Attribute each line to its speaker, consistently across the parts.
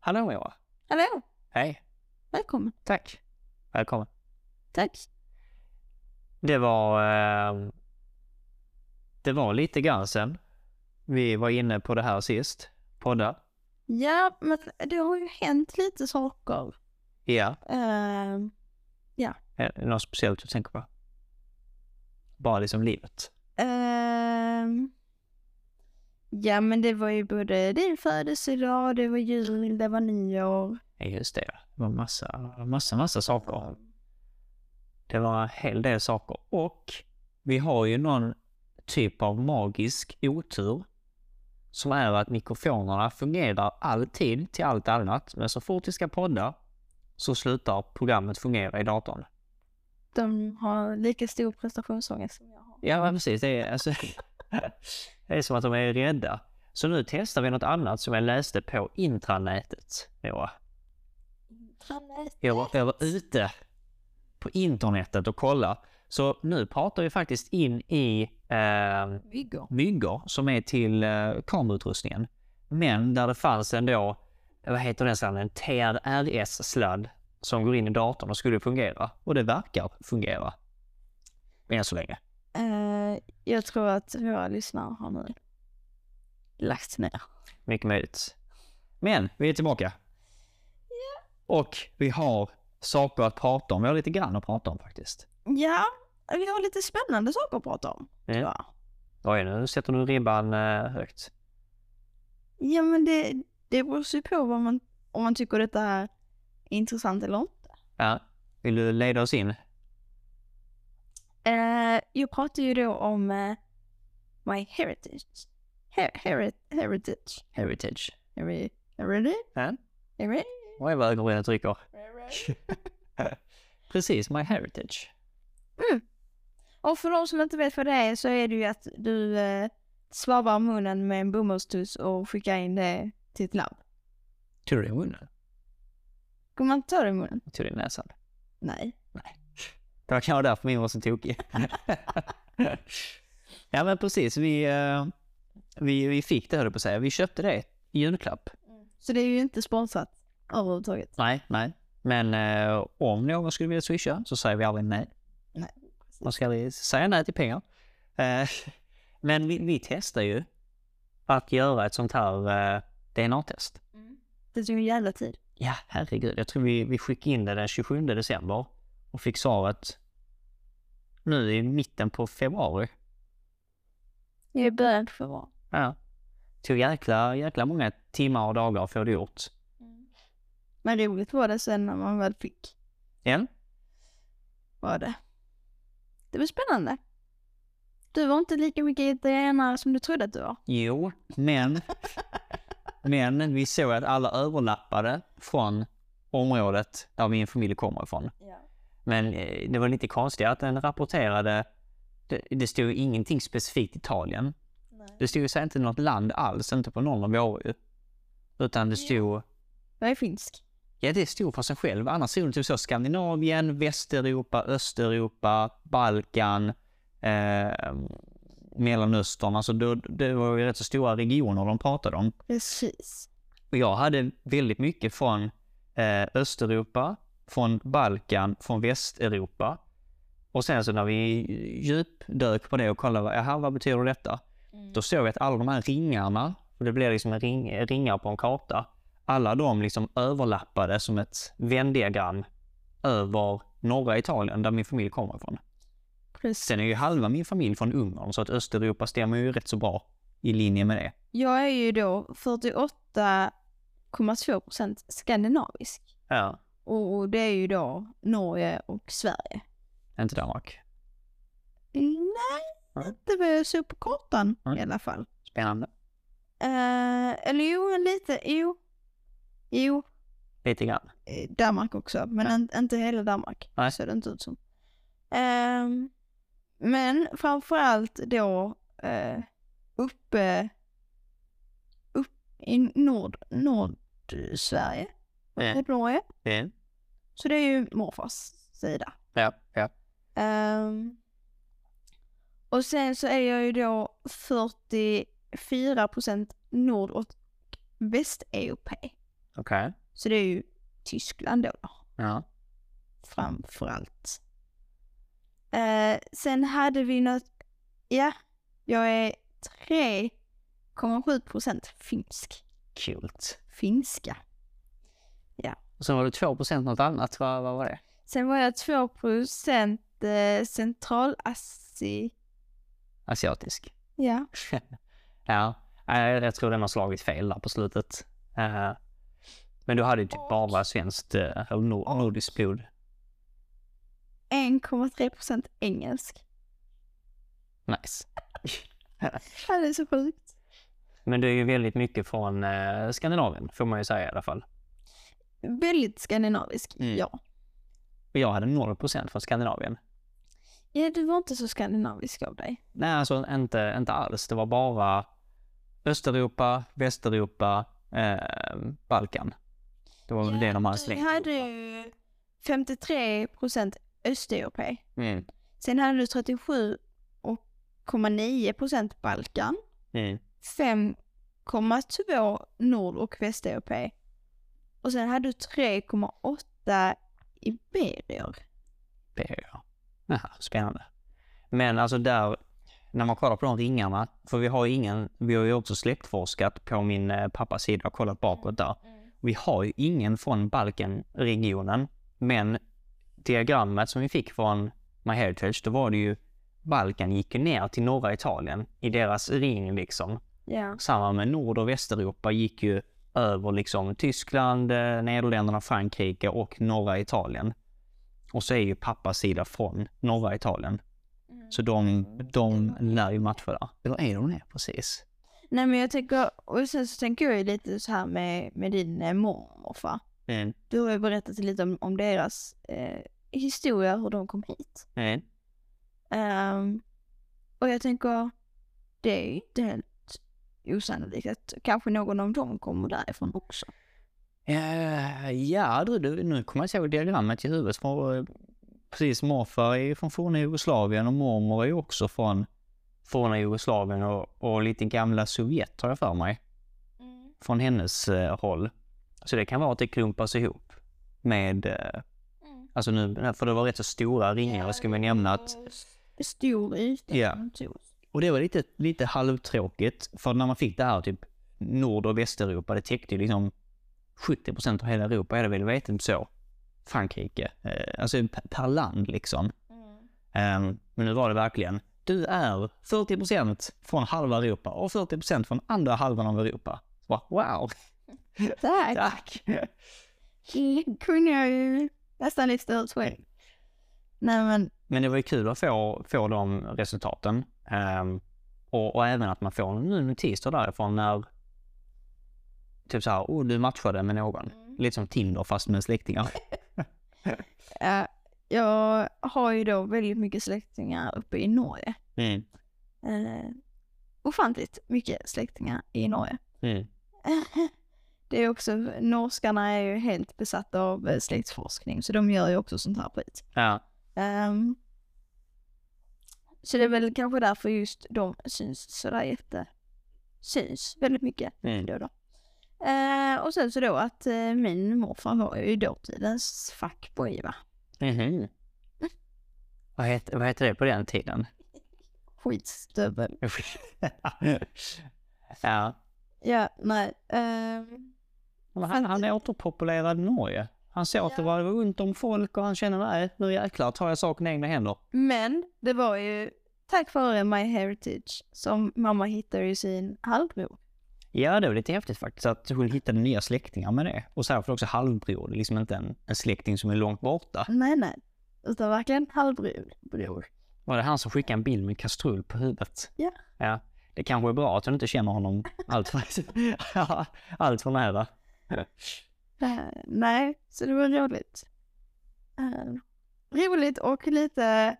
Speaker 1: Hallå Moa.
Speaker 2: Hallå,
Speaker 1: Hej.
Speaker 2: välkommen.
Speaker 1: Tack. Välkommen.
Speaker 2: Tack.
Speaker 1: Det var... ehm, det var lite grann sen. Vi var inne på det här sist. Podda.
Speaker 2: Ja, men det har ju hänt lite saker.
Speaker 1: Ja.
Speaker 2: Eh,
Speaker 1: Är det något speciellt du tänker på? Bara liksom livet.
Speaker 2: ehm, ja, men det var ju både din födelsedag, det var jul, det var nyår.
Speaker 1: Ja, just det. Det var massa, massa, massa saker. Det var en hel del saker. Och vi har ju någon typ av magisk otur. Som är att mikrofonerna fungerar alltid till allt annat. Men så fort vi ska podda så slutar programmet fungera i datorn.
Speaker 2: De har lika stor prestationsångest som jag har.
Speaker 1: Ja, men precis. Det är, alltså, det är som att de är rädda. Så nu testar vi något annat som jag läste på intranätet. Moa. Jag var, jag var ute på internetet och kollade. Så nu pratar vi faktiskt in i eh,
Speaker 2: Myggor.
Speaker 1: myggor som är till eh, kamerautrustningen. Men där det fanns ändå, vad heter den sladden, en TRS-sladd som går in i datorn och skulle fungera. Och det verkar fungera. Än så länge.
Speaker 2: Eh, jag tror att våra lyssnare har nu lagt ner.
Speaker 1: Mycket möjligt. Men vi är tillbaka. Och vi har saker att prata om. Vi har lite grann att prata om faktiskt.
Speaker 2: Ja, vi har lite spännande saker att prata om.
Speaker 1: Ja.
Speaker 2: Ja.
Speaker 1: Oj, nu sätter du ribban eh, högt.
Speaker 2: Ja, men det, det beror ju på vad man, om man tycker detta är intressant eller inte.
Speaker 1: Ja. Vill du leda oss in?
Speaker 2: Eh, jag pratar ju då om eh, my heritage. Her, heri- heritage.
Speaker 1: Heritage.
Speaker 2: Heri- Heritage?
Speaker 1: Ja.
Speaker 2: Heri-
Speaker 1: Oj, vad ögonbrynen trycker. Precis, My Heritage.
Speaker 2: Och för de som inte vet vad det är så är det ju att du eh, svavar munnen med en bomullstuss och skickar in det till ett labb.
Speaker 1: Tur i munnen.
Speaker 2: Kommer man inte ta det i munnen?
Speaker 1: Tur i näsan.
Speaker 2: Nej.
Speaker 1: Det var kanske därför min var så tokig. ja, men precis. Vi, eh, vi, vi fick det, höll jag på att säga. Vi köpte det i julklapp.
Speaker 2: Så det är ju inte sponsrat överhuvudtaget.
Speaker 1: Nej, nej. Men eh, om någon skulle vilja swisha så säger vi aldrig nej.
Speaker 2: Nej,
Speaker 1: Man ska aldrig säga nej till pengar. Eh, men vi, vi testar ju att göra ett sånt här eh, DNA-test.
Speaker 2: Det tog en jävla tid.
Speaker 1: Ja, herregud. Jag tror vi, vi skickade in det den 27 december och fick svaret nu i mitten på februari.
Speaker 2: Det är början på februari.
Speaker 1: Ja. Tog jäkla, jäkla många timmar och dagar för det gjort.
Speaker 2: Men roligt var det sen när man väl fick
Speaker 1: Ja,
Speaker 2: var det. Det var spännande. Du var inte lika mycket italienare som du trodde att du var.
Speaker 1: jo, men, men vi såg att alla överlappade från området där min familj kommer ifrån. Men eh, det var lite konstigt att den rapporterade, det, det stod ju ingenting specifikt Italien. Det stod ju så här inte något land alls, inte på någon av våra ju. Utan det stod,
Speaker 2: Jag är finsk.
Speaker 1: ja det stod för sig själv. Annars stod det typ så Skandinavien, Västeuropa, Östeuropa, Balkan, eh, Mellanöstern. Alltså det, det var ju rätt så stora regioner de pratade om.
Speaker 2: Precis.
Speaker 1: Och jag hade väldigt mycket från eh, Östeuropa, från Balkan, från Västeuropa. Och sen så när vi djupdök på det och kollade, jaha vad betyder detta? Då såg vi att alla de här ringarna, och det blev liksom en ring, ringar på en karta, alla de liksom överlappade som ett vändiagram över norra Italien där min familj kommer ifrån.
Speaker 2: Precis.
Speaker 1: Sen är ju halva min familj från Ungern så att Östeuropa stämmer ju rätt så bra i linje med det.
Speaker 2: Jag är ju då 48,2% skandinavisk.
Speaker 1: Ja.
Speaker 2: Och det är ju då Norge och Sverige.
Speaker 1: Inte Danmark.
Speaker 2: Nej,
Speaker 1: Nej.
Speaker 2: inte vad jag såg på kartan
Speaker 1: Nej.
Speaker 2: i alla fall.
Speaker 1: Spännande.
Speaker 2: Eh, eller jo, lite. Jo. Jo,
Speaker 1: Lite grann.
Speaker 2: eh, Danmark också, men
Speaker 1: Ja.
Speaker 2: in, inte hela Danmark.
Speaker 1: Nej.
Speaker 2: Ser det inte ut som. Ehm, men framförallt då eh, uppe upp i nord, Nordsverige,
Speaker 1: Ja.
Speaker 2: typ Norge.
Speaker 1: Ja.
Speaker 2: Så det är ju morfars sida.
Speaker 1: Ja, ja.
Speaker 2: Ehm, och sen så är jag ju då 44 procent nord och västeuropé.
Speaker 1: Okej. Okej.
Speaker 2: Så det är ju Tyskland då. då.
Speaker 1: Ja.
Speaker 2: framförallt. Eh, sen hade vi något, ja, jag är 3,7 procent finsk.
Speaker 1: Kul.
Speaker 2: Finska.
Speaker 1: Och sen var det 2 något annat. Vad, vad var det?
Speaker 2: Sen var jag 2 procent eh, centralasi.
Speaker 1: Asiatisk.
Speaker 2: Ja.
Speaker 1: Ja, nej, jag tror den har slagit fel där på slutet. Eh, Men du hade ju typ bara svenskt eh, eller nor- nordiskt blod.
Speaker 2: 1,3 procent engelsk.
Speaker 1: Nice.
Speaker 2: Ja, Det är så sjukt.
Speaker 1: Men du är ju väldigt mycket från eh, Skandinavien, får man ju säga i alla fall.
Speaker 2: Väldigt skandinavisk,
Speaker 1: Mm.
Speaker 2: ja.
Speaker 1: Och jag hade 0 från Skandinavien.
Speaker 2: Ja, du var inte så skandinavisk av dig.
Speaker 1: Nej, alltså inte, inte alls. Det var bara Östeuropa, Västeuropa, eh, Balkan. Det var väl det de hade
Speaker 2: Vi
Speaker 1: slängt.
Speaker 2: hade
Speaker 1: ihop,
Speaker 2: ju 53 procent östeuropé.
Speaker 1: va? Mm.
Speaker 2: Sen hade du 37,9 procent Balkan,
Speaker 1: Mm.
Speaker 2: 5,2 Nord och Västeuropé och sen hade du 3,8 Iberier.
Speaker 1: PH. Jaha, spännande. Men alltså där, när man kollar på de ringarna, för vi har ju ingen, vi har ju också släktforskat på min eh, pappas sida och kollat bakåt där. Vi har ju ingen från Balkanregionen, men diagrammet som vi fick från MyHeritage, då var det ju Balkan gick ju ner till norra Italien i deras ring liksom.
Speaker 2: Ja.
Speaker 1: Samma med Nord och Västeuropa gick ju över liksom Tyskland, eh, Nederländerna, Frankrike och norra Italien. Och så är ju pappas sida från norra Italien. Så de, de lär ju matcha där. Eller är de det? Precis.
Speaker 2: Nej men jag tänker, och sen så tänker jag ju lite så här med, med din eh, mormor och morfar.
Speaker 1: Mm.
Speaker 2: Du har ju berättat lite om, om deras eh, historia, hur de kom hit.
Speaker 1: Mm.
Speaker 2: Ehm, och jag tänker, det är ju inte helt osannolikt att kanske någon av dem kommer därifrån också.
Speaker 1: Eh, ja du, du, nu kommer jag inte ihåg diagrammet i huvudet. För, eh, precis, morfar är ju från forna Jugoslavien och mormor är ju också från forna Jugoslavien och, och lite gamla Sovjet har jag för mig. från hennes eh, håll. Så det kan vara att det klumpas ihop med, eh, alltså nu, för det var rätt så stora ringar ska man nämna att,
Speaker 2: Stor yta.
Speaker 1: Ja.
Speaker 2: som togs.
Speaker 1: och det var lite, lite halvtråkigt för när man fick det här typ Nord och Västeuropa, det täckte ju liksom 70 av hela Europa, eller väl vet inte så, Frankrike, eh, alltså per, per land liksom. Ehm, men nu var det verkligen, du är 40 från halva Europa och 40 från andra halvan av Europa. Bara, wow,
Speaker 2: Tack!
Speaker 1: tack!
Speaker 2: Det kunde jag ju nästan lista ut själv. Nej men,
Speaker 1: Men det var ju kul att få, få de resultaten. Ehm, och, och även att man får nu notis då därifrån när typ så här, oh du matchade med någon. Lite som Tinder fast med släktingar.
Speaker 2: eh, jag har ju då väldigt mycket släktingar uppe i Norge.
Speaker 1: Mm.
Speaker 2: Uh, ofantligt mycket släktingar i Norge.
Speaker 1: Mm.
Speaker 2: Det är också, norskarna är ju helt besatta av eh, släktforskning så de gör ju också sånt här skit.
Speaker 1: Ja.
Speaker 2: Ehm, så det är väl kanske därför just de syns sådär jätte... Syns väldigt mycket
Speaker 1: Mm.
Speaker 2: då då. Eh, och sen så då att eh, min morfar var ju dåtidens fuckboy va?
Speaker 1: Mhm. Vad, heter, vad heter det på den tiden?
Speaker 2: Skitstövel.
Speaker 1: ja.
Speaker 2: Ja, nej. ehm,
Speaker 1: Han, han återpopulerade Norge. Han såg att det var runt om folk och han kände nej, nu jäklar tar jag saken i egna händer.
Speaker 2: Men det var ju tack vare My Heritage som mamma hittade ju sin halvbror.
Speaker 1: Ja, det var lite häftigt faktiskt att hon hittade nya släktingar med det. Och särskilt också halvbror. Det är liksom inte en, en släkting som är långt borta.
Speaker 2: Nej, nej. Utan verkligen halvbror. Bror.
Speaker 1: Var det han som skickade en bild med en kastrull på huvudet?
Speaker 2: Ja.
Speaker 1: Ja. Det kanske är bra att hon inte känner honom allt för, allt för nära.
Speaker 2: Eh, nej, så det var roligt. Eh, roligt och lite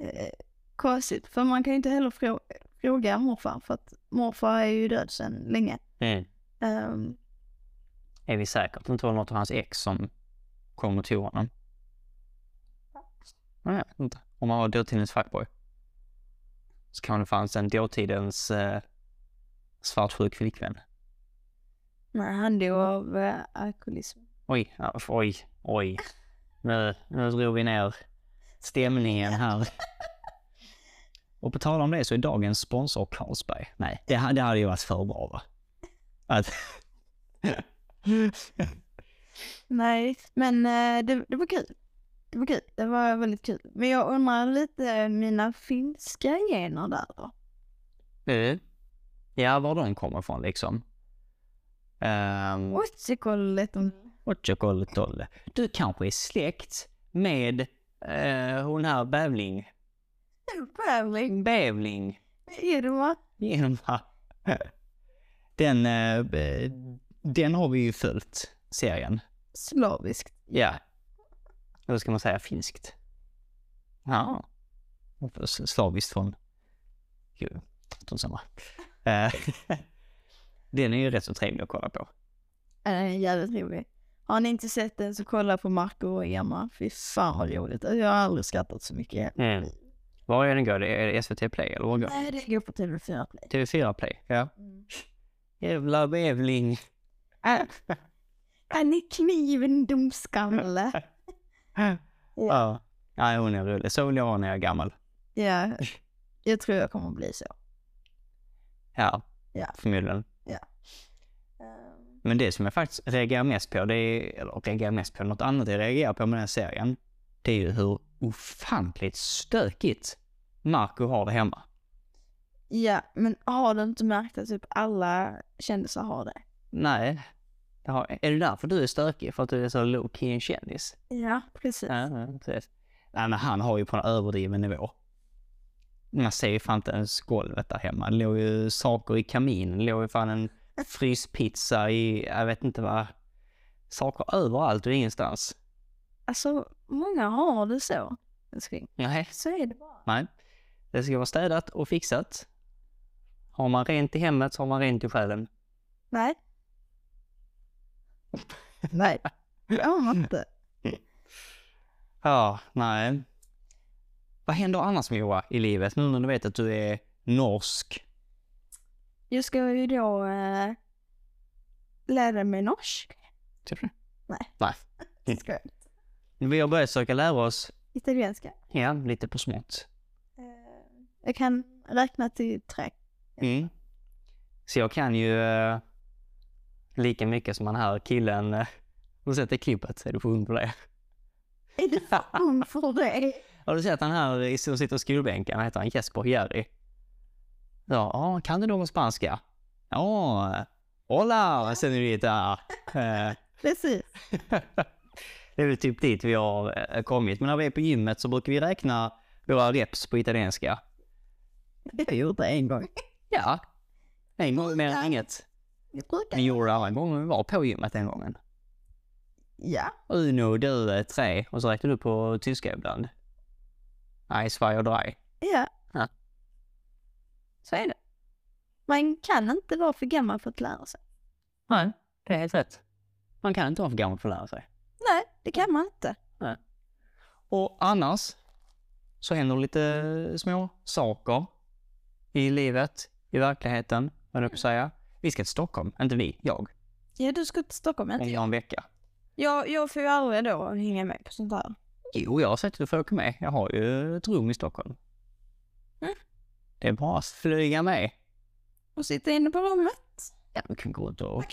Speaker 2: eh, konstigt. För man kan ju inte heller frå- fråga morfar. För att morfar är ju död sedan länge.
Speaker 1: Mm.
Speaker 2: Eh,
Speaker 1: Är vi säkra att det inte var något av hans ex som kom och tog honom? Nej, jag vet inte. Om han var dåtidens fuckboy. Så kanske det fanns en dåtidens eh, svartsjuk flickvän.
Speaker 2: Men han dog av eh, alkoholism.
Speaker 1: Oj, ja, oj, oj. Nu, nu drog vi ner stämningen här. Och på tal om det så är dagens sponsor Carlsberg. Nej, det, ha- det hade ju varit för bra va? Att...
Speaker 2: Nej, men eh, det, det var kul. Det var kul. Det var väldigt kul. Men jag undrar lite mina finska gener där då.
Speaker 1: Eh, ja, var de kommer ifrån liksom. Ehm,
Speaker 2: Mm. Otsikololeton.
Speaker 1: Otjokoltolle. Du kanske är släkt med eh, hon här Bävling.
Speaker 2: Mm. Bävling.
Speaker 1: Bävling.
Speaker 2: Är det va?
Speaker 1: Genom den, eh, b- den har vi ju följt, serien.
Speaker 2: Slaviskt.
Speaker 1: Ja. Eller ska man säga finskt? Ja. Slaviskt från... Gud, strunt samma. Eh, den är ju rätt så trevlig att kolla på.
Speaker 2: Äh, jävligt rolig. Har ni inte sett den så kolla på Marco och Emma. Fy fan vad roligt. Jag har aldrig skrattat så mycket.
Speaker 1: Mm. Var är den går? Det Är det SVT Play eller var går den?
Speaker 2: Nej, det går på TV4 Play.
Speaker 1: TV4 Play? Ja.
Speaker 2: Mm.
Speaker 1: Jävla bävling.
Speaker 2: Äh, han är kniven dumskalle.
Speaker 1: Ja. Nej, hon är rolig. Så vill jag vara när jag är gammal.
Speaker 2: ja, jag tror jag kommer bli så.
Speaker 1: Ja,
Speaker 2: Ja.
Speaker 1: förmodligen. Men det som jag faktiskt reagerar mest på, det är, eller reagerar mest på, något annat jag reagerar på med den här serien, det är ju hur ofantligt stökigt Marco har det hemma.
Speaker 2: Ja, men har du inte märkt att typ alla kändisar har det?
Speaker 1: Nej, det har, är det därför du är stökig? För att du är så low key en kändis?
Speaker 2: Ja, precis.
Speaker 1: Ja, ja, precis. Nej, men han har ju på en överdriven nivå. Man ser ju fan inte ens golvet där hemma. Det låg ju saker i kaminen. Det låg ju fan en fryspizza i, jag vet inte vad. Saker överallt och ingenstans.
Speaker 2: Alltså, många har det så. älskling.
Speaker 1: Nej.
Speaker 2: Så är det bara.
Speaker 1: Nej. Det ska vara städat och fixat. Har man rent i hemmet så har man rent i själen.
Speaker 2: Nej. Nej, det har man inte.
Speaker 1: Ja, nej. Vad händer annars Moa i livet nu när du vet att du är norsk?
Speaker 2: Jag ska ju då eh, lära mig norsk.
Speaker 1: Typ det?
Speaker 2: Nej.
Speaker 1: Nej.
Speaker 2: Ska jag?
Speaker 1: Vi har börjat försöka lära oss
Speaker 2: Italienska.
Speaker 1: Ja, lite på smått.
Speaker 2: Eh, jag kan räkna till tre.
Speaker 1: Mm. Så jag kan ju eh, lika mycket som den här killen. eh, Har du sett det klippet? Är du för ung på det?
Speaker 2: Är du fan för det?
Speaker 1: Har du sett den här i- som sitter i skolbänken? Vad heter han? Jesper Jerry? Ja, ah, kan du någon spanska? Ja, oh, hola senorita. Eh,
Speaker 2: Precis.
Speaker 1: det är väl typ dit vi har eh, kommit. Men när vi är på gymmet så brukar vi räkna våra reps på italienska.
Speaker 2: Jag gjorde det en gång.
Speaker 1: Ja, en gång mer än inget.
Speaker 2: Jag brukar.
Speaker 1: Vi gjorde det alla gången vi var på gymmet den gången.
Speaker 2: Ja.
Speaker 1: Uno, du, eh, tre och så räknar du på tyska ibland. Nej, zwei och drei.
Speaker 2: Ja.
Speaker 1: Ja.
Speaker 2: Så är det. Man kan inte vara för gammal för att lära sig.
Speaker 1: Nej, det är helt rätt. Man kan inte vara för gammal för att lära sig.
Speaker 2: Nej, det kan man inte.
Speaker 1: Och annars så händer lite små saker i livet, i verkligheten, vad jag på att säga. Vi ska till Stockholm, inte vi, jag,
Speaker 2: Ja, du ska till Stockholm.
Speaker 1: om
Speaker 2: inte?
Speaker 1: jag en vecka.
Speaker 2: Jag, jag får ju aldrig då hänga med på sånt här.
Speaker 1: Jo, jag har sett att du får åka med. Jag har ju ett rum i Stockholm.
Speaker 2: Mm.
Speaker 1: Det är bara att flyga med.
Speaker 2: Och sitta inne på rummet.
Speaker 1: Ja, vi kan gå runt och,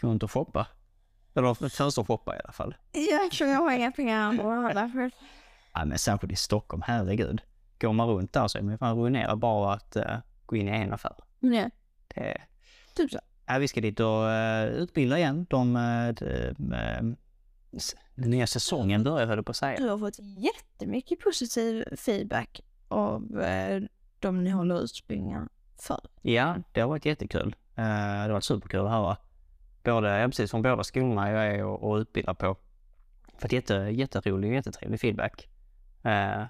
Speaker 1: gå runt och shoppa. Eller fönstershoppa i alla fall.
Speaker 2: Jag tror jag har inga pengar och hålla själv.
Speaker 1: Ja, men särskilt i Stockholm, herregud. Går man runt där så är man ju fan ruinerad bara att eh, gå in i en affär.
Speaker 2: Ja,
Speaker 1: Det...
Speaker 2: typ så.
Speaker 1: Eh, Ja, vi ska dit och eh, utbilda igen. De, eh, de, eh, s- den nya säsongen börjar, höll jag på att säga.
Speaker 2: Du har fått jättemycket positiv feedback av eh, de ni håller utbildningar för.
Speaker 1: Ja, det har varit jättekul. Eh, det har varit superkul att höra. Både, ja, precis från båda skolorna jag är och, och utbildar på. Fått jätte, jätterolig och jättetrevlig feedback. Eh,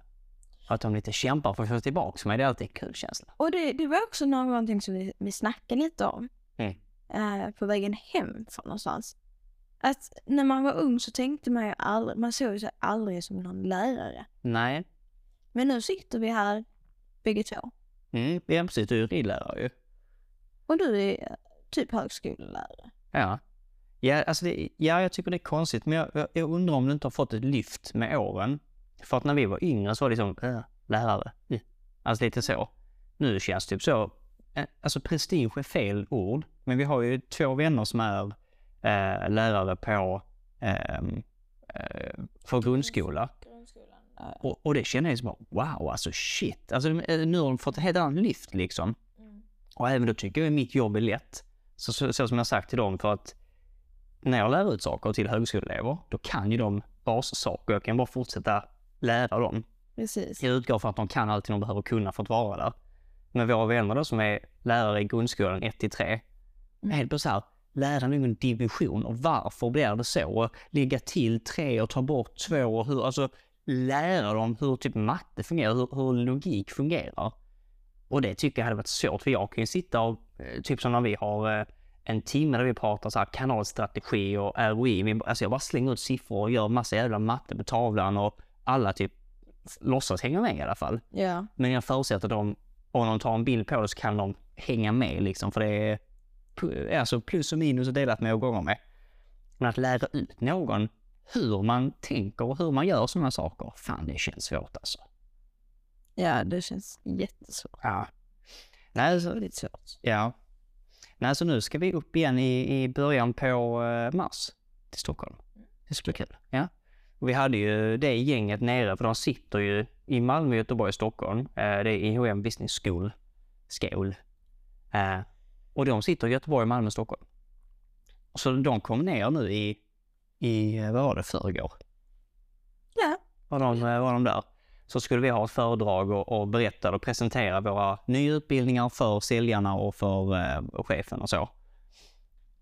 Speaker 1: att de lite kämpar för att få tillbaka mig, det är alltid en kul känsla.
Speaker 2: Och det, det var också någonting som vi, vi snackade lite om
Speaker 1: Mm.
Speaker 2: eh, på vägen hem från någonstans. Att när man var ung så tänkte man ju aldrig, man såg sig aldrig som någon lärare.
Speaker 1: Nej,
Speaker 2: Men nu sitter vi här bägge två
Speaker 1: mm, ja, precis. Du är ridlärare ju.
Speaker 2: och du är eh, typ högskolelärare.
Speaker 1: Ja, Ja, alltså det, ja, jag tycker det är konstigt, men jag, jag, jag undrar om det inte har fått ett lyft med åren. För att när vi var yngre så var det liksom, äh, lärare, äh. alltså lite så. Nu känns det typ så, äh, alltså prestige är fel ord, men vi har ju två vänner som är äh, lärare på, ehm, äh, för grundskola.
Speaker 3: Grundskolan. Ja.
Speaker 1: Och, och det känner jag som, bara, wow, alltså shit, alltså eh, nu har de fått ett helt annat lyft liksom.
Speaker 3: Mm.
Speaker 1: Och även då tycker jag mitt jobb är lätt. Så, så, så som jag sagt till dem för att när jag lär ut saker till högskoleelever, då kan ju de bassaker. Jag kan bara fortsätta lära dem.
Speaker 2: Precis.
Speaker 1: Jag utgår från att de kan allting de behöver kunna för att vara där. Men våra vänner då som är lärare i grundskolan 1 till 3, är helt plötsligt så här, läraren är ju en dimension och varför blir det så? Och Lägga till tre och ta bort två och hur, alltså lära dem hur typ matte fungerar, hur, hur logik fungerar. Och det tycker jag hade varit svårt för jag kan ju sitta och, eh, typ som när vi har eh, en timme där vi pratar så här kanalstrategi och ROI. Vi- Alltså jag bara slänger ut siffror och gör massa jävla matte på tavlan och alla typ f- låtsas hänga med i alla fall.
Speaker 3: ja.
Speaker 1: Men jag förutsätter att de, om de tar en bild på det så kan de hänga med liksom för det är pu- alltså plus och minus och delat med och gånger med. Men att lära ut någon hur man tänker och hur man gör sådana saker, fan det känns svårt alltså.
Speaker 3: Ja, det känns jättesvårt.
Speaker 1: Ja. Nej, så,
Speaker 3: Väldigt svårt.
Speaker 1: ja. Nej, så nu ska vi upp igen i, i början på eh, mars till Stockholm. Det ska bli kul. Ja. Och vi hade ju det gänget nere, för de sitter ju i Malmö, Göteborg, Stockholm. Eh, det är IHM Business School. School. Eh, och de sitter i Göteborg, Malmö, Stockholm. Så de kom ner nu i, i eh, vad var det, förrgår?
Speaker 3: Ja.
Speaker 1: Var de, eh, var de där. Så skulle vi ha ett föredrag och, och berätta och presentera våra nya utbildningar för säljarna och för eh, och chefen och så.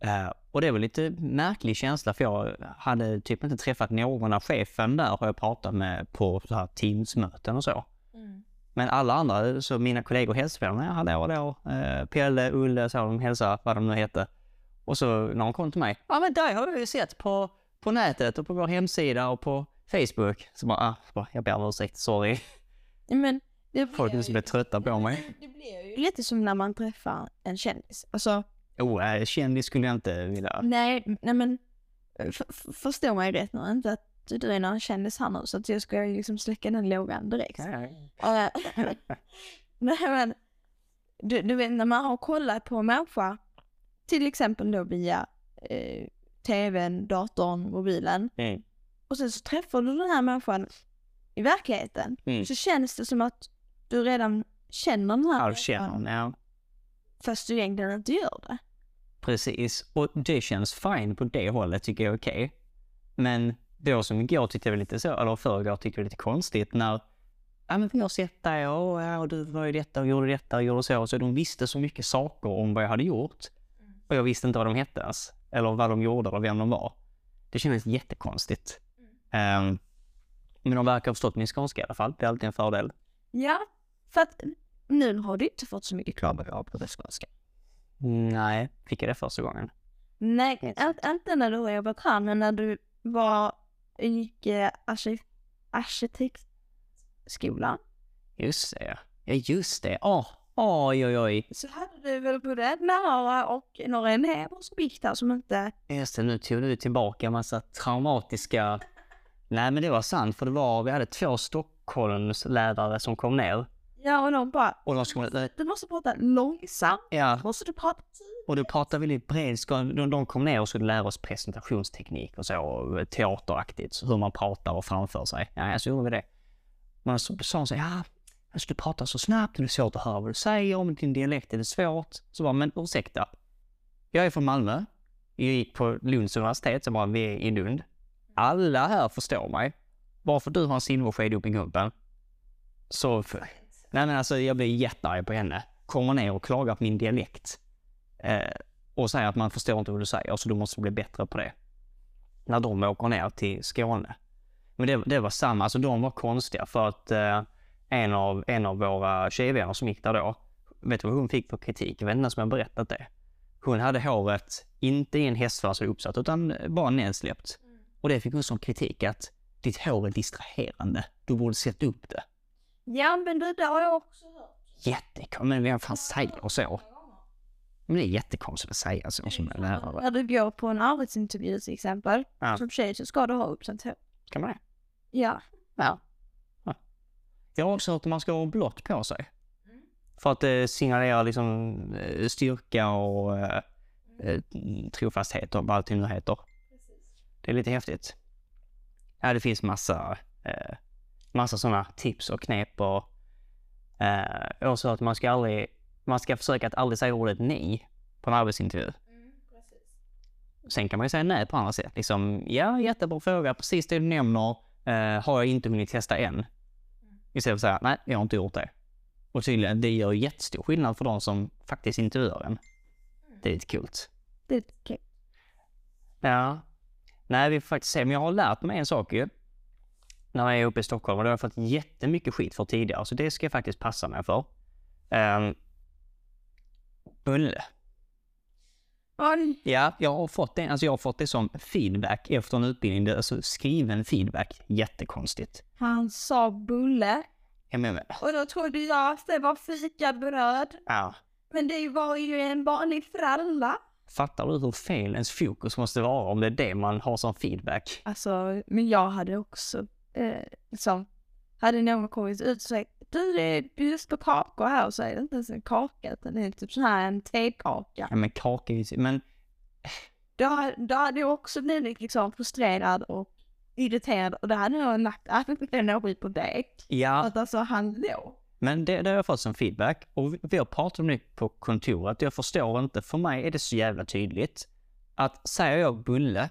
Speaker 1: Eh, och det var lite märklig känsla för jag hade typ inte träffat någon av chefen där har jag pratat med på så här Teams-möten och så.
Speaker 3: Mm.
Speaker 1: Men alla andra, så mina kollegor hälsade på dem. Ja, hallå, hallå. Eh, Pelle, Ulle, så de hälsade, vad de nu hette. Och så när de kom till mig. Ja, men dig har jag ju sett på, på nätet och på vår hemsida och på Facebook. Så bara, ah, bara, jag ber om ursäkt, sorry.
Speaker 3: Men det blir,
Speaker 1: Folk som
Speaker 3: ju,
Speaker 1: blir trötta på mig.
Speaker 3: det blir ju
Speaker 2: Det är lite som när man träffar en kändis. Alltså,
Speaker 1: Oh, eh, kändis skulle jag inte vilja.
Speaker 2: nej, nej men eh, f- f- förstå mig rätt nu. Inte att du är någon kändis här nu så att jag ska ju liksom släcka den lågan direkt. Eh, Nej men, du, du vet när man har kollat på en människa, till exempel då via eh, tvn, datorn, mobilen.
Speaker 1: Mm.
Speaker 2: Och sen så träffar du den här människan i verkligheten.
Speaker 1: Mm.
Speaker 2: Så känns det som att du redan känner den här
Speaker 1: Halvkänn, ja.
Speaker 2: fast du egentligen inte gör det.
Speaker 1: Precis, och det känns fine på det hållet tycker jag är okej. Men då som igår tyckte jag var lite så, eller förrgår tyckte jag var lite konstigt när Ja men vi har sett dig och, ja, och du var ju detta och gjorde detta och gjorde så. Så de visste så mycket saker om vad jag hade gjort. Och jag visste inte vad de hette ens. Eller vad de gjorde eller vem de var. Det kändes jättekonstigt. Ehm, men de verkar ha förstått min skånska i alla fall. Det är alltid en fördel.
Speaker 2: Ja, för att nu har du inte fått så mycket klagomål på det skånska.
Speaker 1: Nej, fick jag det första gången.
Speaker 2: Nej, inte- inte när du har jobbat här, men när du var, gick eh, arki- arkitektskolan.
Speaker 1: Just det. Ja, just det. Åh, oj, oj, oj.
Speaker 2: Så hade du väl både en lärare och några elever som gick där som inte...
Speaker 1: Just det, nu tog du tillbaka en massa traumatiska... Nej men det var sant för det var, vi hade två Stockholmslärare som kom ner.
Speaker 2: Ja, och de bara
Speaker 1: Och de skulle...
Speaker 2: du måste prata långsamt,
Speaker 1: Ja,
Speaker 2: måste du prata typ." tid.
Speaker 1: och då pratade vi lite bred skala. de, de kom ner och skulle lära oss presentationsteknik och så, och teateraktigt, så hur man pratar och framför sig. Ja, så gjorde vi det. Men så sa hon så här, ja, alltså du pratar så snabbt och det är svårt att höra vad du säger, om din dialekt är det svårt. Så bara, men ursäkta. Jag är från Malmö. Jag gick på Lunds universitet, så bara, vi är i Lund. Alla här förstår mig. Varför du har en silversked upp i gumpen? Så, för... nej men alltså jag blir jättearg på henne. Kommer ner och klagar på min dialekt. Eh, och säger att man förstår inte vad du säger, så du måste bli bättre på det. När de åker ner till Skåne. Men det, det var samma, alltså de var konstiga för att eh, en, av, en av våra tjejvänner som gick där då, vet du vad hon fick för kritik? Jag vet inte ens om jag har berättat det. Hon hade håret, inte i en hästsvans och uppsatt, utan bara nedsläppt. Och det fick hon som kritik att ditt hår är distraherande. Du borde sätta upp det.
Speaker 2: Ja, men det där har jag också hört.
Speaker 1: Jättekonstigt, men vem fan säger så? Men det är jättekonstigt att säga så som en lärare.
Speaker 2: När du går på en arbetsintervju till exempel,
Speaker 1: Ja.
Speaker 2: som tjej så ska du ha uppsatt hår.
Speaker 1: Kan man det?
Speaker 2: Ja.
Speaker 1: Ja. Jag har också hört att man ska ha blått på sig. För att eh, signalera liksom, eh, styrka och eh, eh, trofasthet och vad allt det nu heter. Det är lite häftigt. Ja, det finns massa, eh, massa sådana tips och knep. Och, eh, också att man ska, aldrig, man ska försöka att aldrig säga ordet nej på en arbetsintervju. Sen kan man ju säga nej på andra sätt. Liksom, ja, jättebra fråga, precis det du nämner eh, har jag inte hunnit testa än. Istället för att säga, nej, jag har inte gjort det. Och tydligen, det gör jättestor skillnad för de som faktiskt intervjuar en. Det är lite kul.
Speaker 2: Det är okej.
Speaker 1: Ja. Nej, vi får faktiskt se. Men jag har lärt mig en sak ju. När jag är uppe i Stockholm och det har jag fått jättemycket skit för tidigare. Så det ska jag faktiskt passa mig för. Ehm, bulle.
Speaker 2: Okay.
Speaker 1: Ja, jag har fått det, alltså jag har fått det som feedback efter en utbildning. Det är alltså skriven feedback. Jättekonstigt.
Speaker 2: Han sa bulle
Speaker 1: Jag menar,
Speaker 2: och då trodde jag att det var fikabröd.
Speaker 1: ja.
Speaker 2: Men det var ju en vanlig fralla.
Speaker 1: Fattar du hur fel ens fokus måste vara om det är det man har som feedback?
Speaker 2: Alltså, men jag hade också, eh, liksom, hade någon kommit ut och sagt du det är bjuds på kakor här och så är det inte ens en kaka utan det är typ så här en tekaka.
Speaker 1: Ja, men kaka är ju... Men
Speaker 2: Då, då hade jag också blivit liksom frustrerad och irriterad och då hade jag lagt all energi på det.
Speaker 1: ja,
Speaker 2: Att alltså han låg.
Speaker 1: men det, det har jag fått som feedback. Och vi- vi har pratat om det på kontoret. Jag förstår inte. För mig är det så jävla tydligt att säger jag bulle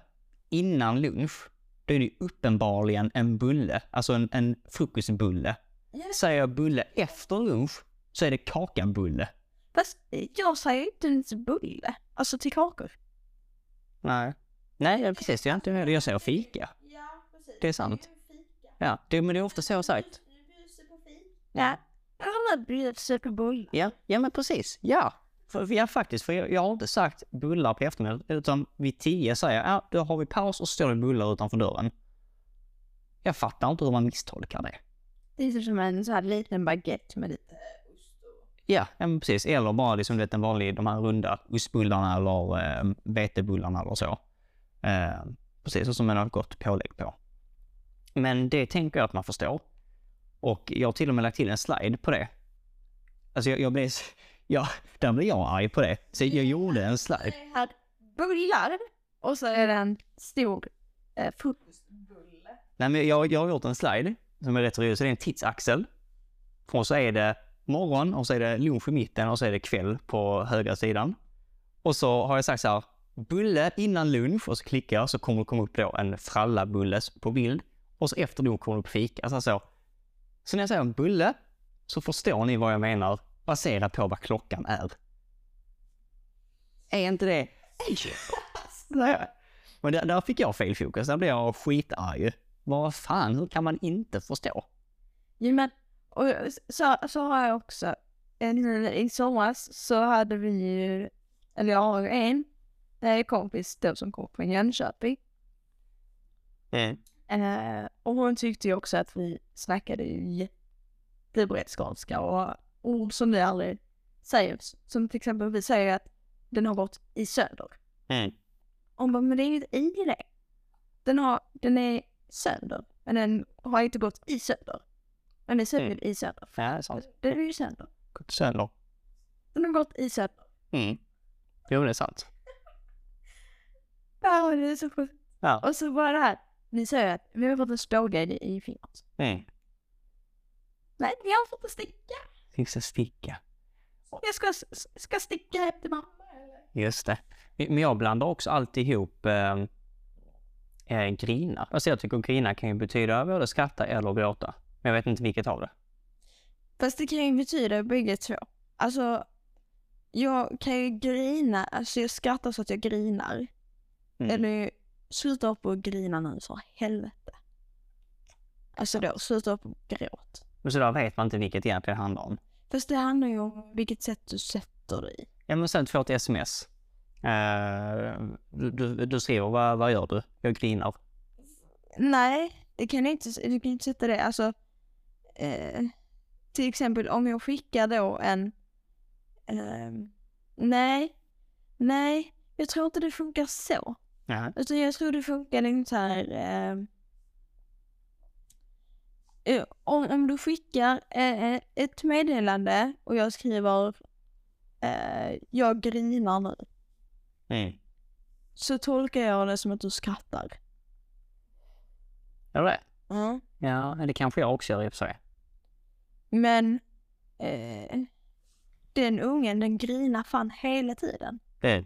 Speaker 1: innan lunch, då är det ju uppenbarligen en bulle. Alltså en, en frukostbulle. Säger jag bulle efter lunch så är det kakanbulle.
Speaker 2: Fast jag säger inte ens bulle, alltså till kakor.
Speaker 1: Nej. Nej, precis. Det är inte heller. Jag säger fika.
Speaker 2: Ja, precis.
Speaker 1: Det är sant. Ja, det, men det är ofta så jag har sagt.
Speaker 2: Nej, alla bjuder på bulle.
Speaker 1: Ja, ja men precis. Ja. För, ja faktiskt, för jag, jag har inte sagt bullar på eftermiddagen utan vid tio säger jag ja, då har vi paus och så står det bullar utanför dörren. Jag fattar inte hur man misstolkar det.
Speaker 2: Det är typ som en så här liten baguette med lite...
Speaker 1: Ja, ja men precis. Eller bara liksom, du vet, en vanlig, de här runda ostbullarna eller eh, vetebullarna eller så. Eh, precis, och som man har gott pålägg på. Men det tänker jag att man förstår. Och jag har till och med lagt till en slide på det. Alltså jag, jag blev... s- Ja, där blev jag arg på det. Så jag gjorde en slide.
Speaker 2: Det här bullar och så är det en stor eh, frukostbulle.
Speaker 1: Nej, men jag, jag har gjort en slide som är rätt rolig. Så det är en tidsaxel. Och så är det morgon och så är det lunch i mitten och så är det kväll på högra sidan. Och så har jag sagt så här, bulle innan lunch och så klickar jag så kommer det komma upp då en frallabulle på bild. Och så efter lunch kommer det upp fika. Alltså så. så när jag säger en bulle så förstår ni vad jag menar baserat på vad klockan är. Är inte det? Nej. Men där, där fick jag fel fokus. Där blev jag skitarg. Vad fan, hur kan man inte förstå?
Speaker 2: Ja, men, och så, så har jag också, en, i somras så hade vi ju, eller jag har ju en eh, kompis då som kom från Jönköping. Eh, och hon tyckte ju också att vi snackade ju jättebrett skånska och ord som vi aldrig säger. Som till exempel vi säger att den har gått i söder.
Speaker 1: Mm.
Speaker 2: Hon bara, men det är ju ett i det. Den, har, den är söder, men den har inte gått i söder. Den är söder
Speaker 1: Mm.
Speaker 2: i söder.
Speaker 1: Ja, det är sant.
Speaker 2: Den är ju söder.
Speaker 1: Gått sönder.
Speaker 2: Den har gått i söder.
Speaker 1: Mm. Jo, det är sant.
Speaker 2: Ja, det är så sjukt.
Speaker 1: Ja.
Speaker 2: Och så var det här, ni säger att vi har fått en spågrej i Finland.
Speaker 1: Mm.
Speaker 2: Nej, vi har fått en sticka.
Speaker 1: Finns det sticka?
Speaker 2: Jag ska, ska sticka hem till mamma.
Speaker 1: Just det. Men men jag blandar också alltid ihop eh, eh, grina. Alltså jag tycker grina kan ju betyda både skratta eller gråta. Men jag vet inte vilket av det.
Speaker 2: Fast det kan ju betyda bägge två. Alltså, jag kan ju grina, alltså jag skrattar så att jag grinar.
Speaker 1: Mm.
Speaker 2: Eller sluta upp och grina nu för helvete. Alltså då, sluta upp och gråt.
Speaker 1: Men så där vet man inte vilket det egentligen handlar om.
Speaker 2: Fast det handlar ju om vilket sätt du sätter dig i.
Speaker 1: Ja, men sen får jag ett sms. Eh, du, du, du skriver, vad, vad gör du? Jag grinar.
Speaker 2: Nej, det kan jag inte, du kan inte sätta det. Alltså, eh, till exempel om jag skickar då en... ehm, nej, Nej, jag tror inte det funkar så.
Speaker 1: Nej.
Speaker 2: Utan jag tror det funkar ungefär... Eh, eh, om, om du skickar eh, ett meddelande och jag skriver eh, jag grinar nu.
Speaker 1: Mm.
Speaker 2: Så tolkar jag det som att du skrattar.
Speaker 1: Är det det? Ja, det kanske jag också gör i och för sig.
Speaker 2: Men eh, den ungen den grinar fan hela tiden.
Speaker 1: Det är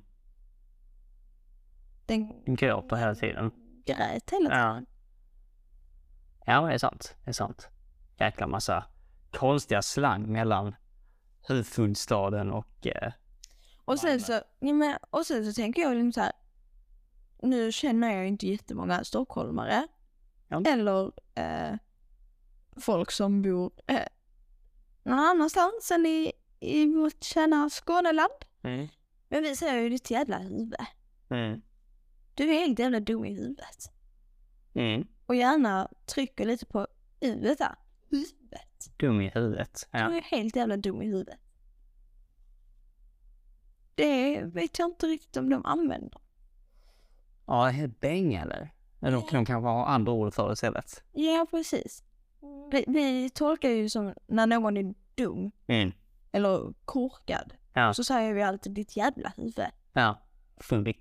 Speaker 2: Den
Speaker 1: en gråter hela tiden.
Speaker 2: grät hela tiden.
Speaker 1: Ja. ja, det är sant. Det är sant. Jäkla massa konstiga slang mellan huvudstaden och... Eh,
Speaker 2: Och sen, så, ja, men, och sen så tänker jag liksom så här. Nu känner jag ju inte jättemånga stockholmare.
Speaker 1: Ja.
Speaker 2: Eller eh, folk som bor eh, någon annanstans än i, i vårt kära Skåneland.
Speaker 1: mm.
Speaker 2: Men vi säger ju ditt jävla huvud.
Speaker 1: Mm.
Speaker 2: Du är helt jävla dum i huvudet.
Speaker 1: Mm.
Speaker 2: Och gärna trycker lite på u där. Huvudet.
Speaker 1: Dum i huvudet. Ja.
Speaker 2: Du är helt jävla dum i huvudet. Det vet jag inte riktigt om de använder.
Speaker 1: Ja, helt bäng eller? Men De, de kanske har andra ord för det istället.
Speaker 2: Ja, precis. Vi, vi tolkar ju som när någon är dum
Speaker 1: Mm.
Speaker 2: eller korkad.
Speaker 1: Ja.
Speaker 2: Så säger vi alltid ditt jävla huvud.
Speaker 1: Ja. Fumbic.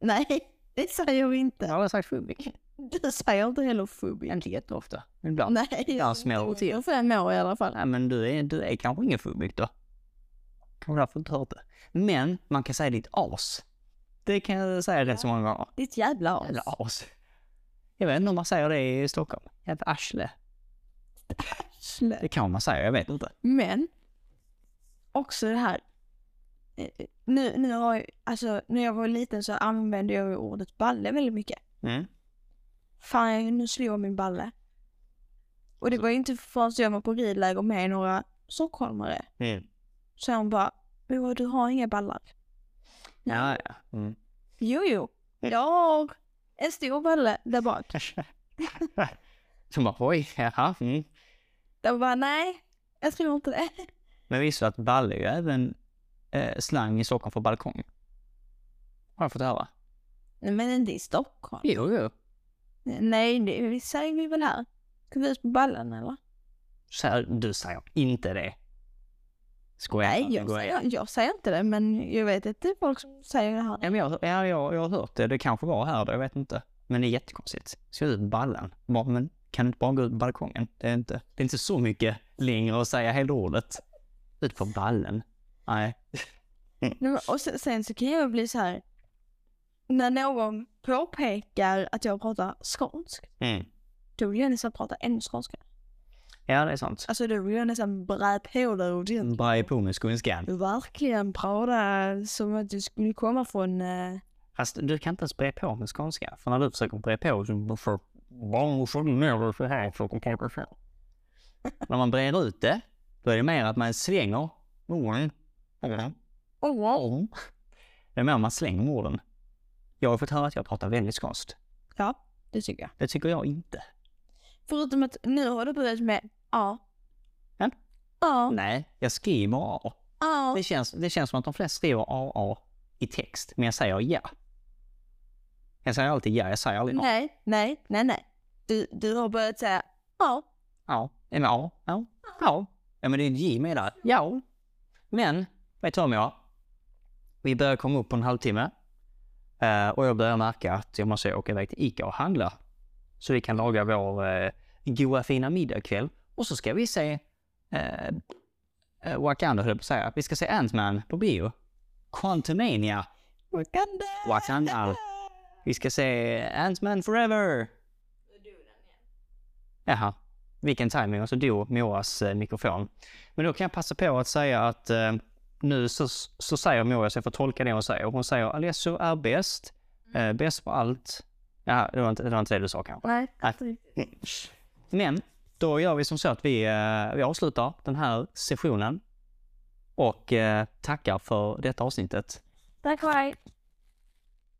Speaker 2: Nej, det säger vi inte.
Speaker 1: Jag har sagt fumbic.
Speaker 2: Du säger inte heller fubi.
Speaker 1: Inte jätteofta. men Ibland.
Speaker 2: Nej,
Speaker 1: jag smäller till.
Speaker 2: Jag fem år i alla fall.
Speaker 1: Nej, men du är, du är kanske ingen fumbic då. Kanske därför inte hört det. Men man kan säga ditt as. Det kan jag säga rätt så många gånger.
Speaker 2: Ditt jävla as.
Speaker 1: Jävla as. Jag vet inte om man säger det i Stockholm. Jävla arsle.
Speaker 2: Slö.
Speaker 1: Det kan man säga, jag vet inte.
Speaker 2: Men, också det här. eh, Nu, nu har jag, alltså, när jag var liten så använde jag ju ordet balle väldigt mycket.
Speaker 1: Mm.
Speaker 2: Fan, nu slår jag min balle. Och det var ju inte förrän jag var på ridläger med några stockholmare.
Speaker 1: Mm.
Speaker 2: Så han bara, "Moa, du har inga ballar.
Speaker 1: Ja, ja. Mm.
Speaker 2: Jo, jo. Jag har en stor balle där bak.
Speaker 1: Så bara, oj, jaha. Mm.
Speaker 2: De bara, nej, jag tror inte det.
Speaker 1: Men visste du att balle är ju även eh, slang i Stockholm för balkong? Har jag fått höra.
Speaker 2: Nej, men inte i Stockholm.
Speaker 1: Jo, jo.
Speaker 2: Nej, det vi säger vi väl här. Ska vi ut på ballen eller?
Speaker 1: Så här, du säger inte det. Skojar
Speaker 2: Nej, jag
Speaker 1: Går
Speaker 2: säger, jag säger inte det, men jag vet inte folk som säger det här.
Speaker 1: Ja, men jag, ja, jag, jag har hört det. Det kanske var här då, jag vet inte. Men det är jättekonstigt. Ska ut på ballen? Bara, Men kan du inte bara gå ut på balkongen? Det är inte, det är inte så mycket längre att säga hela ordet. Ut på ballen? Nej.
Speaker 2: Nej, men- Och sen, sen så kan jag bli så här. När någon påpekar att jag pratar skånsk,
Speaker 1: Mm.
Speaker 2: då vill jag nästan prata ännu skånska.
Speaker 1: Ja, det är sant.
Speaker 2: Alltså då vill jag nästan brä på dig ordentligt.
Speaker 1: Bara på med skånskan.
Speaker 2: verkligen prata som att du skulle komma från... eh,
Speaker 1: Fast du kan inte ens bre på med skånska. För när du försöker bre på så får barn så ner dig så här så kan jag så. När man brer ut det, då är det mer att man svänger orden. Det är mer man slänger orden. Jag har fått höra att jag pratar väldigt skånskt.
Speaker 2: Ja, det tycker jag.
Speaker 1: Det tycker jag inte.
Speaker 2: Förutom att nu har du börjat med A.
Speaker 1: Ja.
Speaker 2: A.
Speaker 1: Nej, jag skriver A.
Speaker 2: A.
Speaker 1: Det känns, det känns som att de flesta skriver AA i text, men jag säger ja. Jag säger alltid ja, jag säger aldrig A.
Speaker 2: Nej, nej, nej, nej. Du, du har börjat säga A.
Speaker 1: Ja, men ja, ja, ja. Ja, men det är ett J med där. Ja. Men, vet du om jag? Vi börjar komma upp på en halvtimme. Eh, och jag börjar märka att jag måste åka iväg till Ica och handla. Så vi kan laga vår eh, goda fina middag ikväll. Och så ska vi se eh, eh, Wakanda höll jag på att säga. Vi ska se Ant-Man på bio. Quantumania.
Speaker 2: Wakanda.
Speaker 1: Wakanda. Vi ska se Ant-Man Forever. Jaha, vilken timing Och så dog Moras eh, mikrofon. Men då kan jag passa på att säga att eh, nu så, så säger Mora, så jag får tolka det hon säger. Hon säger Alesso är bäst, eh, bäst på allt. Ja, det var, inte, det var inte det du sa kanske.
Speaker 2: Nej,
Speaker 1: Nej. Men då gör vi som så att vi, eh, vi avslutar den här sessionen och eh, tackar för detta avsnittet.
Speaker 2: Tack och hej.